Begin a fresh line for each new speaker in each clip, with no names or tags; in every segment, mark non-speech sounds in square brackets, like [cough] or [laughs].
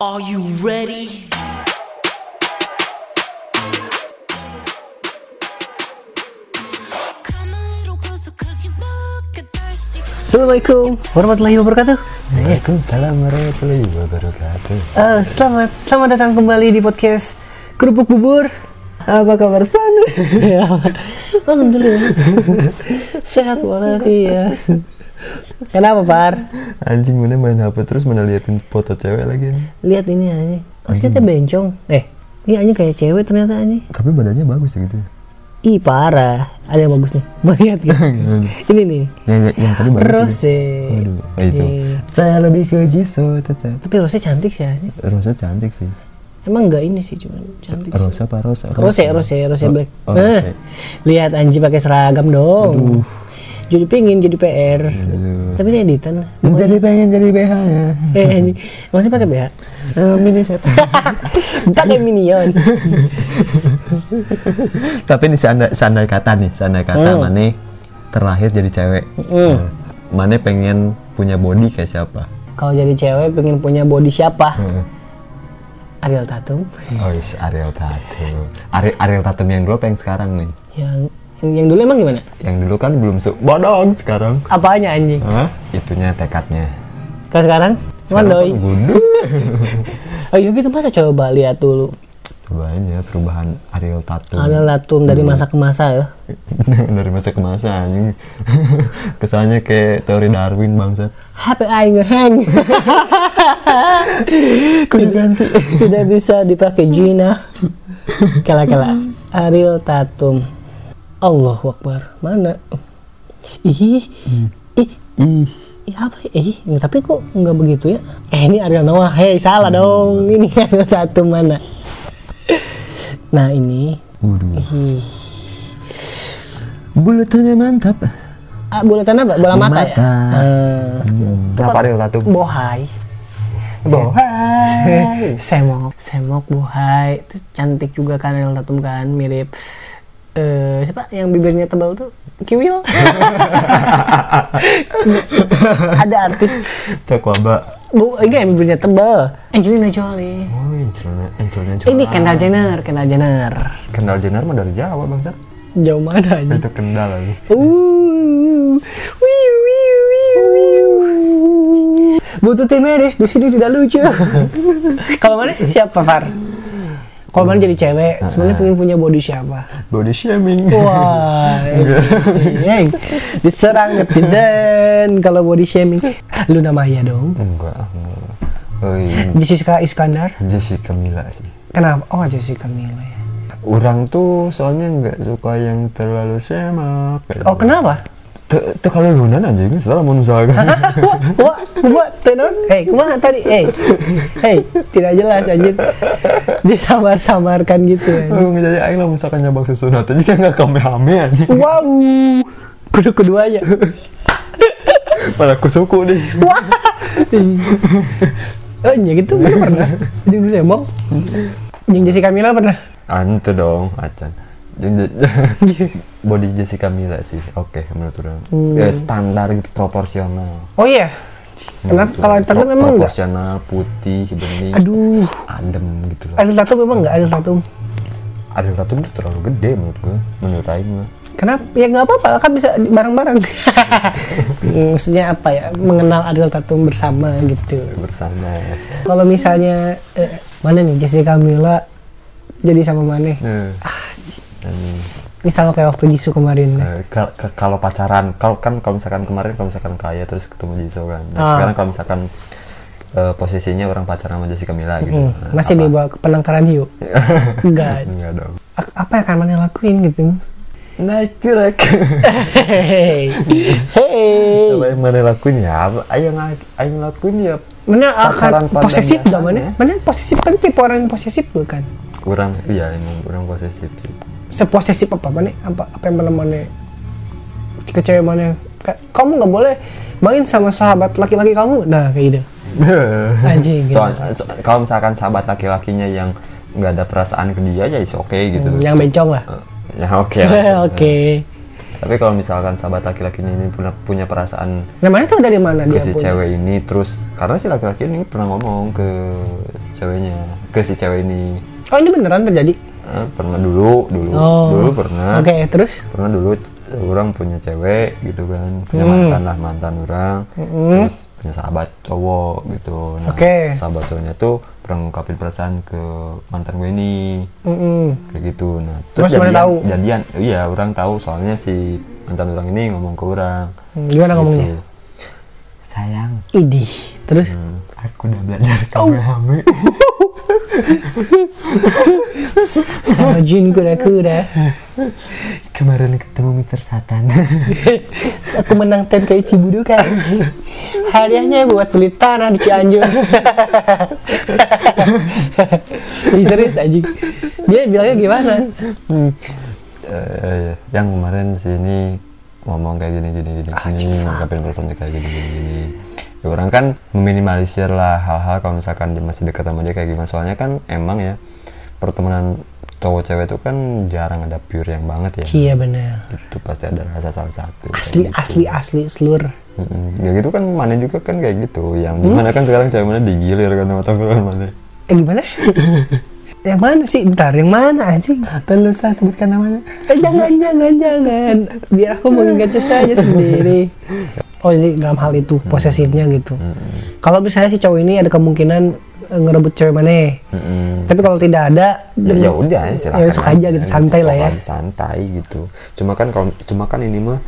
Are you ready?
Come a little closer, cause you look thirsty.
Assalamualaikum warahmatullahi wabarakatuh.
Waalaikumsalam warahmatullahi wabarakatuh.
Eh, selamat selamat datang kembali di podcast Kerupuk Bubur. Apa kabar San? [laughs] Ya. Alhamdulillah. Sehat walafiat. Kenapa Par?
Anjing mana main HP terus mana liatin foto cewek lagi. nih.
Lihat ini aja. Oh, ternyata bencong. Eh, iya aja kayak cewek ternyata aja.
Tapi badannya bagus ya gitu. ya.
Ih parah. Ada yang bagus nih. [laughs] Lihat gitu. ini nih.
yang, Ya, yang, yang tadi bagus.
Rose.
ya. Aduh, nah itu.
Iya.
Saya lebih ke Jisoo tetap.
Tapi Rose cantik sih aja.
Rosa cantik sih.
Emang enggak ini sih cuman cantik. sih.
Rosa apa Rosa?
Rose, Rose, Rose
Ro-
Black.
Oh,
Nah,
Rose.
lihat Anji pakai seragam dong. Jadi pingin jadi PR. Tapi ini editan.
Menjadi pengen jadi BH ya.
Eh, Anji, emang dia pakai BH?
Eh, mini
[laughs]
set.
pakai minion.
Tapi ini seandai, seandai kata nih, seandai kata
Hmm.
Mane terlahir jadi cewek. Nah, Mane pengen punya body kayak siapa?
Kalau jadi cewek pengen punya body siapa?
Heeh.
Ariel Tatum.
Oh, is Ariel Tatum. Ari Ariel Tatum yang dulu apa yang sekarang nih?
Yang yang, yang dulu emang gimana?
Yang dulu kan belum se bodong sekarang.
Apanya anjing?
Hah? Itunya tekadnya.
Kalau sekarang
Sekarang
ngondoi.
kan gundul.
Ayo gitu masa coba lihat dulu.
Coba aja perubahan Ariel Tatum.
Ariel Tatum dari masa ke masa ya.
[laughs] Dari masa ke masa anjing. [laughs] Kesannya kayak teori Darwin bangsa.
HP aing ngehang.
[laughs] Kudu ganti.
Tidak bisa dipakai Gina. Kala-kala. Ariel Tatum. Allah Akbar. Mana? Ih. Ih.
Ih,
Ih, apa ya? Ih, nggak, tapi kok nggak begitu ya? Eh, ini Ariel Noah. Hei, salah
Hmm.
dong. Ini Ariel Tatum mana? Nah, ini.
waduh.
Ih.
Bulatannya mantap.
Ah, bulatan apa? Bola mata, ya?
Mata. Hmm.
Eh,
Kenapa Ariel Tatum?
bohai. Iya.
[laughs] Bohai.
[laughs] semok semok buhai itu cantik juga kan Ariel Tatum kan mirip eh siapa yang bibirnya tebal tuh Kiwil [laughs] ada artis
Cakwaba.
bu ini yang bibirnya tebal Angelina Jolie
Oh, Angelina, Angelina
ini Kendall Jenner Kendall Jenner
Kendall Jenner mah dari Jawa bangsa.
jauh mana ini
Itu Kendall lagi.
Uh, wiu, wiu, wiu, wiu. Butuh tim medis di sini tidak lucu. [laughs] Kalau mana siapa Far? Kalau mana jadi cewek, sebenarnya pengen punya body siapa?
Body shaming.
Wah, [laughs] ini- diserang netizen kalau body shaming. Luna Maya dong.
[laughs] Enggak. enggak. Oh, iya.
Jessica Iskandar.
Jessica Mila sih.
Kenapa? Oh Jessica Mila. ya.
Orang tuh soalnya nggak suka yang terlalu semak.
Oh kenapa?
Tuh tuh kalau Yunan aja ini salah mau
[laughs]
misalkan.
Wah, wah, wah, tenon, eh, kumaha tadi, eh, eh, tidak jelas anjir, disamar-samarkan gitu ya.
Aku ngejajah aing lah misalkan nyabak susunat aja kan nggak kamehame aja.
Wow, kudu keduanya, Iya.
Malah kusuku deh.
wah, oh iya gitu, mana pernah, di dulu semok, yang Jessica Mila pernah,
Ante dong, acan. Je- je-
Iya.
Body Jessica Mila sih, oke menurut orang.
Iya.
Ya, standar gitu proporsional.
oh iya, kenapa
Menurut
kalau
orang.
Ariel Tatum
Pro-
emang enggak,
Proporsional, putih, bening,
aduh,
adem gitu loh.
Ariel Tatum emang enggak, Ariel Tatum,
Ariel Tatum tuh terlalu gede menurut gue, menurut Aing mah.
kenapa, ya nggak apa-apa, kan bisa di- bareng-bareng, [laughs] maksudnya apa ya, mengenal Ariel Tatum bersama gitu.
bersama.
Kalau misalnya eh, mana nih Jessica Mila jadi sama mana? Ini sama kayak waktu Jisoo kemarin.
Eh, kal- ke- kalau pacaran, kalau kan kalau misalkan kemarin kalau misalkan kaya terus ketemu Jisoo kan. Nah,
Ah.
sekarang kalau misalkan eh, posisinya orang pacaran sama Jessica Mila gitu.
Hmm,
Nah,
masih
apa? Iya.
dibawa ke penangkaran hiu. Enggak.
[laughs] Enggak dong.
A- apa yang akan mana lakuin gitu?
Naik trek.
Eh. Hei, hei,
Apa yang mana lakuin ya? Apa- Ayo ngak- ayo lakuin ya.
mana
Pacaran
akan
pandang
posesif gak
biasanya.
mana? Mana posesif kan tipe orang yang posesif bukan?
Kurang iya emang kurang posesif sih.
Seposesif apa mana? Apa apa yang pernah mana? Ke cewek mana? Ka- Kamu nggak boleh main sama sahabat laki-laki kamu. Nah
[laughs]
kayak gitu. Anjing. gitu.
Soalnya so- kalau misalkan sahabat laki-lakinya yang nggak ada perasaan ke dia ya is oke gitu.
Hmm, yang bencong lah.
Eh, Ya oke.
[laughs] Oke.
lah. Tapi kalau misalkan sahabat laki-lakinya ini punya punya perasaan
Namanya tuh Nah, dari mana
ke
dia
si
punya?
cewek ini terus karena si laki-laki ini pernah ngomong ke ceweknya ke si cewek ini
Oh ini beneran terjadi?
Eh, pernah dulu dulu
Oh.
dulu pernah
Oke terus?
pernah dulu orang punya cewek gitu kan punya
Hmm.
mantan lah mantan orang terus punya sahabat cowok gitu nah
Oke.
sahabat cowoknya tuh pernah ngungkapin perasaan ke mantan gue ini
Mm-mm.
kayak gitu nah
Hmm. Terus mana
jadian,
tahu?
jadian iya orang tahu soalnya si mantan orang ini ngomong ke orang
Hmm, Gimana ngomongnya?
Gitu. sayang
Idih. Terus? Oh.
hmm, aku udah
[laughs]
belajar kamu hamil
Sama jin kura-kura.
kemarin ketemu Mister Satan
[laughs] Aku menang TNKI Cibudukan. kan. Hadiahnya buat beli tanah di Cianjur. [laughs] Ih, serius anjing. Dia bilangnya gimana? Hmm,
Eh, yang kemarin sini ngomong kayak gini gini gini
Ah,
gini ngungkapin perasaan kayak gini gini gini ya orang kan meminimalisir lah hal-hal kalau misalkan dia masih dekat sama dia kayak gimana soalnya kan emang ya pertemanan cowok cewek itu kan jarang ada pure yang banget ya
Iya benar.
itu pasti ada rasa salah satu kayak
Asli
gitu.
asli asli seluruh.
Mm-mm. ya gitu kan mana juga kan kayak gitu yang
Hmm?
dimana kan sekarang cewek mana digilir kan sama tongkrongan mana
Eh
[laughs]
gimana? yang mana sih? Bentar, yang mana anjing?
Telu saya sebutkan namanya
Eh, jangan, jangan, jangan. Biar aku mengingatnya saja sendiri. Oh, jadi dalam hal itu,
Hmm.
posesifnya gitu. Kalau misalnya si cowok ini ada kemungkinan eh, ngerebut cewek mana. Tapi kalau tidak ada,
ya,
dengan-
ya udah silakan
ya, suka aja gitu, santai lah ya.
sopan, santai gitu cuma kan kalau cuma kan ini mah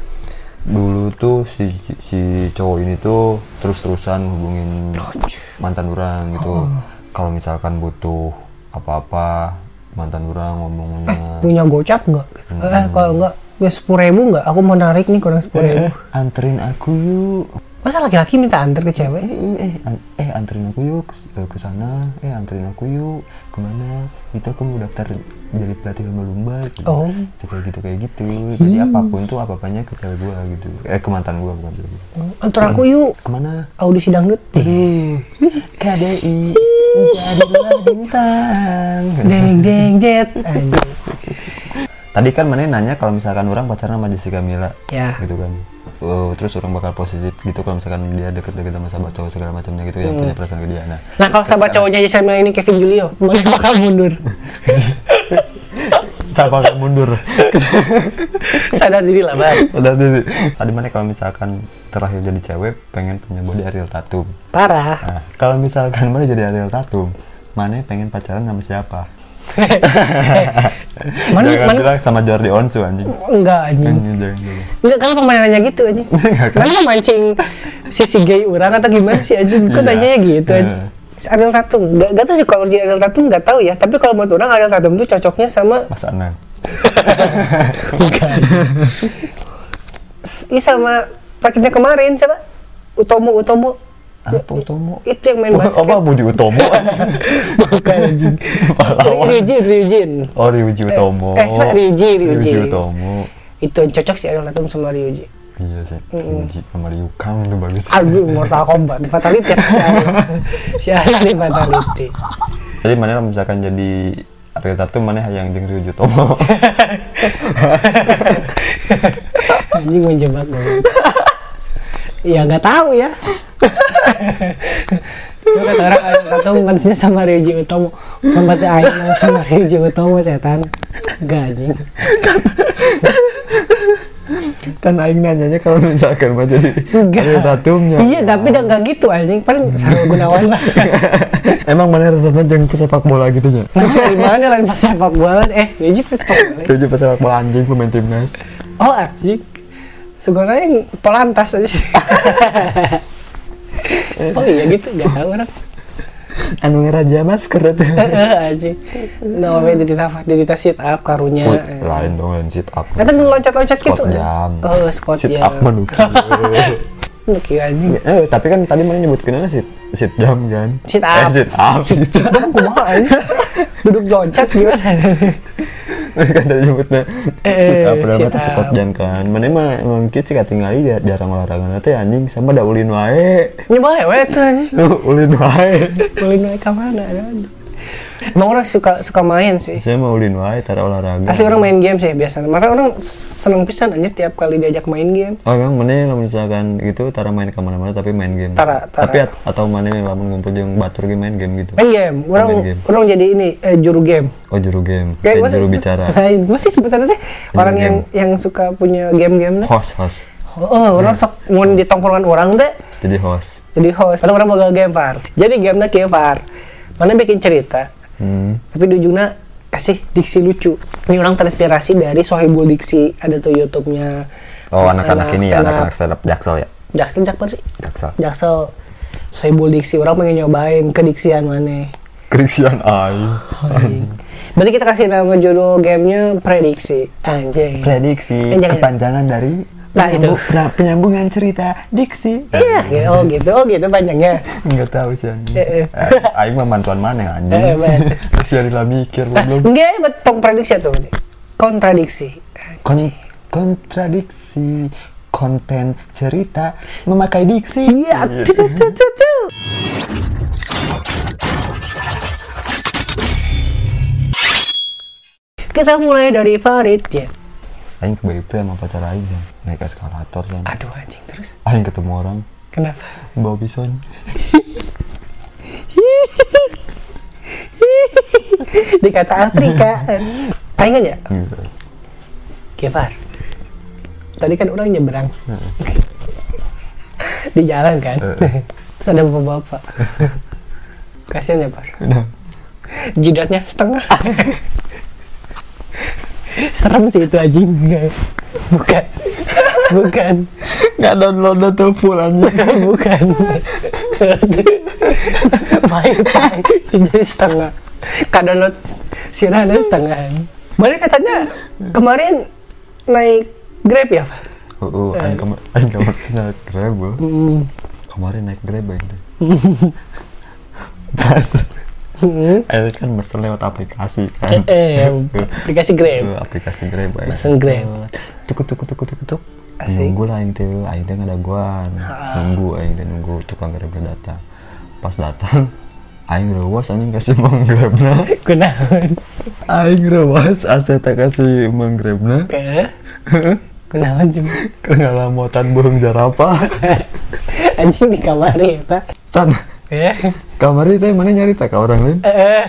dulu tuh si si cowok ini tuh terus terusan hubungin mantan orang gitu
Oh.
kalau misalkan butuh apa apa mantan orang ngomongnya
Punya gocap nggak? Gitu.
Hmm.
Eh, kalau nggak, gue sepuluh ribu nggak? Aku mau narik nih kurang sepuluh ribu.
eh, anterin aku yuk
Masa laki-laki minta antar ke cewek?
eh an- eh anterin aku yuk ke- eh, ke sana eh anterin aku yuk kemana gitu aku mau daftar jadi pelatih lumba-lumba gitu.
Oh.
kayak gitu kayak gitu jadi apapun tuh apa-apanya ke cewek gua gitu eh ke mantan gua bukan cewek gua.
Antar aku yuk
kemana
audisi dangdut.
KDI jadilah bintang
Deng deng jet. Anjing.
tadi kan mana nanya kalau misalkan orang pacaran sama Jessica Mila
Ya.
gitu kan Oh, terus orang bakal positif gitu kalau misalkan dia deket-deket sama sahabat cowok segala macamnya gitu yang punya perasaan ke dia nah
Nah kalau sahabat cowoknya Jessica Mila ini Kevin Julio, [laughs] mana bakal mundur? [laughs]
sahabat nggak mundur
Sadar diri lah, Bang.
Udah dulu. Tadi mana kalau misalkan terakhir jadi cewek pengen punya body Ariel Tatum.
Parah.
Nah, kalau misalkan mana jadi Ariel Tatum, mana pengen pacaran sama siapa?
Mana-
jangan
mana-
bilang sama Jordi Onsu anjing.
Enggak anjing.
Anjing, jangan jangan.
Enggak kan pemainannya gitu anjing.
[laughs]
Kan lu mancing sisi gay orang atau gimana sih anjing? Kok
Iya.
nanyanya gitu anjing.
Iya.
Ariel Tatum, gak, gak tau sih kalau dia Ariel Tatum gak tahu ya Tapi kalau menurut orang Ariel Tatum tuh cocoknya sama
Mas Anang.
Bukan Ih sama paketnya kemarin siapa? Utomo, Utomo
Apa Utomo?
Itu yang main basket
[laughs] Apa Budi
[laughs]
Utomo?
Bukan [laughs] anjing
Pahlawan.
Ryujin, Ryujin
Oh Ryuji Utomo.
eh, cuma Ryuji, Ryuji.
Utomo.
Itu yang cocok sih Ariel Tatum sama Ryuji
Iya sih, Ryuji sama Ryu Kang itu bagus.
Aduh, Mortal Kombat, Fatality apa si Ariel? Si Ariel di Fatality
Jadi mana kalau misalkan jadi Ariel Tatum mana yang jeung Ryuji
[laughs]
Utomo?
Anjing menjebak banget. ya nggak tahu ya. Cuma kata orang Ariel Tatum manisnya sama Ryuji Utomo. Tempatnya Aing sama Ryuji Utomo setan. Enggak anjing.
kan aing nanyanya kalau misalkan mau jadi
Enggak.
Ariel Tatumnya
Iya, tapi udah nggak gitu anjing. Paling Sarul Gunawan lah.
[laughs] emang mana resepnya jeung pesepak bola gitu ya
Nah, dari mana lain pas sepak bola? Eh, Ryuji pas sepak bola.
Dia juga pesepak bola anjing pemain timnas
Oh, anjing. Sugana yang polantas aja.
[laughs]
oh iya gitu, nggak tahu orang.
anu ngeraja
Iya,
masker itu
Heeh, anjing. Nah, we didita didita sit up karunya.
lain dong lain sit up
Eta nu loncat-loncat gitu.
Squat jam
Oh, squat
sit up
jam.
manuki
[laughs] Nu kieu anjing.
[laughs] eh, tapi kan tadi mana nyebutkan sit sit jam kan
Sit up.
eh, sit up sit jam
Duduk kumaha anjing? Duduk loncat gimana?
[laughs] kan tadi nyebutnya
Eh,
sit up udah
sit
mata squat
up.
jam kan mana mah emang kieu sih katingali ja- jarang olahraga nanti anjing sama da ulin wae [laughs]
Ini boleh we tuh anjing.
ulin wae
Boleh naik ke mana? Aduh. Emang orang suka suka main sih.
saya mau ulin wae tara olahraga
Pasti orang main game sih biasanya. Maka orang seneng pisan aja tiap kali diajak main game.
Oh emang mana lamun misalkan gitu tara main kemana-mana tapi main game
Tara- tara.
tapi at- atau mana lamun ngumpul jeung batur ge main game gitu
Main game. Orang
Main game.
orang jadi ini eh, juru game.
oh juru game eh,
masih-
juru
[laughs]
bicara
Lain. Masih sebutannya deh orang yang yang suka punya game-game lah.
host host
Oh, oh, orang
Nah.
sok mau di tongkrongan orang teh
jadi host
jadi host. Atau orang mau game par. Jadi game na kieu par. Mana bikin cerita.
hmm.
Tapi di ujungnya kasih diksi lucu. Ini orang terinspirasi dari Sohibul Diksi. Ada tuh YouTube-nya.
oh anak-anak ini
stand
ya
up.
anak-anak stand up jaksel ya
Jaksel Jakbar sih.
jaksel
Jaksel Sohibul Diksi. Orang pengen nyobain kediksian mana.
kriksian ai iya.
[laughs] Berarti kita kasih nama judul gamenya prediksi. Anjing.
prediksi
Eh, jangan.
kepanjangan dari
Nah, itu.
penyambung- nah, penyambungan cerita diksi
Iya, gitu. oh gitu, oh gitu panjangnya.
Enggak tahu sih anjing.
Eh, eh.
Eh, Aing mah mantuan mana anjing.
Eh, bener.
[laughs] Masih ada lah mikir belum.
Enggak, betong prediksi tuh. berarti. Kontradiksi.
Kon- kontradiksi konten cerita memakai diksi.
Iya, tuh, tuh, tuh, tuh, tuh. Kita mulai dari Farid ya.
Aing ke BIP sama pacar aing kan. Naik eskalator kan.
Aduh anjing terus.
Aing ketemu orang
Kenapa?
bawa ya. bison.
Dikata [laughs] Afrika. Tanya ya,
Gitu.
Kefar. Tadi kan orang nyebrang. [laughs] Di jalan kan.
Heeh.
Terus ada bapak-bapak. Kasihan ya, Pak.
Udah.
jidatnya setengah serem sih itu anjing Enggak. bukan bukan
Nggak download tuh full anjing.
[laughs] bukan pahit-pahit jadi setengah kadang sirahnya setengah Mana katanya kemarin naik Grab ya Pak?
Oh, oh, aing kema- [laughs] aing kemarin naik grab. oh.
Hmm.
Kemarin naik grab aing tuh. Pas
Hmm.
aing kan mesen lewat aplikasi kan.
Eh,
[laughs]
dikasih Grab.
Eh, aplikasi Grab aing.
Mesen Grab.
Tuk tuk tuk tuk tuk.
Asik.
Nunggu lah aing teh, aing teh ngadaguan. Nunggu aing teh nunggu tukang Grab datang. Pas datang [laughs] aing rewas anjing kasih mang Grabna.
Kunaon?
Aing rewas asa tak kasih mang Grabna.
Eh? Kunaon sih?
Kengalamotan burung jarapa.
Anjing di kamar ya, Pak.
San.
Eh?
Kamari teh mana nyarita ka orang lain?
Eh.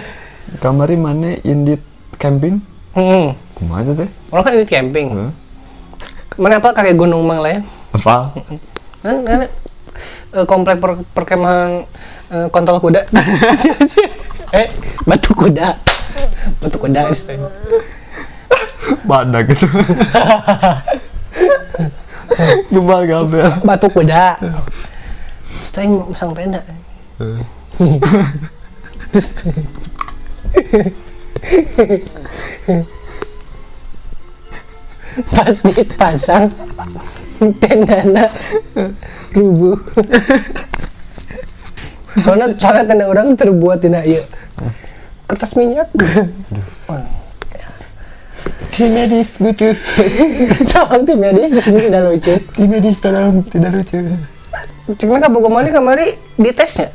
Kamari mana indit camping?
Hmm.
Kumaha sih teh?
Orang kan ini camping.
Heeh.
Mana apa kakek gunung mang lah ya?
Apa?
Kan kan eh, komplek per- perkemahan eh, kontol kuda. eh, batu kuda. Batu kuda istilahnya.
Badak gitu. Gebal gabel.
Batu kuda. Terus tadi mau masang tenda. Terus [laughs] pas dipasang tendana rubuh soalnya, soalnya tenda orang terbuat tina ieu kertas minyak
Tim medis butuh.
tolong tim medis di sini udah lucu
Tim medis tolong tidak lucu.
cuman kamu kemarin kemarin di tesnya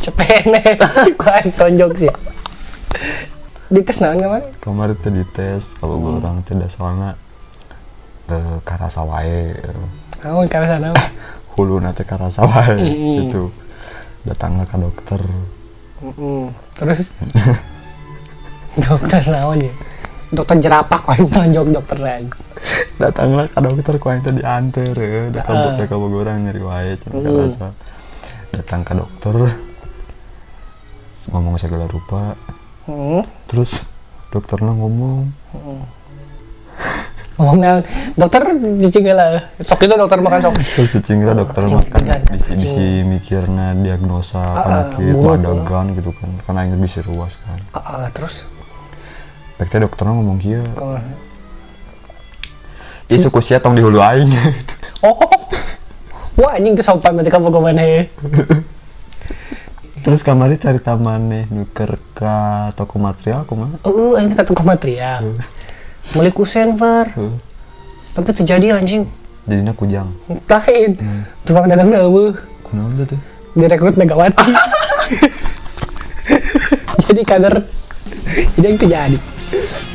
cepene [laughs] kurang tonjok sih di tes naon kemarin
Kemarin tuh dites kalau gue orang tidak soalnya eh karasa wae eh,
naon karena sana
hulu nanti karasa wae gitu. Datanglah ke dokter.
[laughs] terus dokter naon ya dokter jerapah kurang tonjok dokter lain
Datanglah ke dokter ku aing teh dianter ya. Da ka da ka Bogorang nyeri wae cenah karasa. Datang ke dokter. Terus Ngomong segala rupa.
Hmm.
Terus dokternya ngomong
ngomong naon dokter cicing lah sok itu dokter makan sok
Terus cicing lah dokter
Cicing,
makan
cicing.
bisi bisi mikirna diagnosa penyakit
mulut,
madagan gitu kan karena ingin bisa ruas kan.
Ah, ah, terus
Pekte dokternya ngomong "Iya, kia.
Kemana?
Ih suku sia tong di hulu aing. [laughs]
oh [laughs] wah anjing kesopan berarti kamu kemana ya
Terus kamari cari taman nih nuker ke toko material kumaha?
uh anjing kata ke material mulai kusen var
Heeh.
tapi terjadi anjing
Jadina kujang.
Hmm. Lain. Tukang dagang dawuh [laughs]
Kunaon tuh?
direkrut Megawati. jadi kader jadi yang itu jadi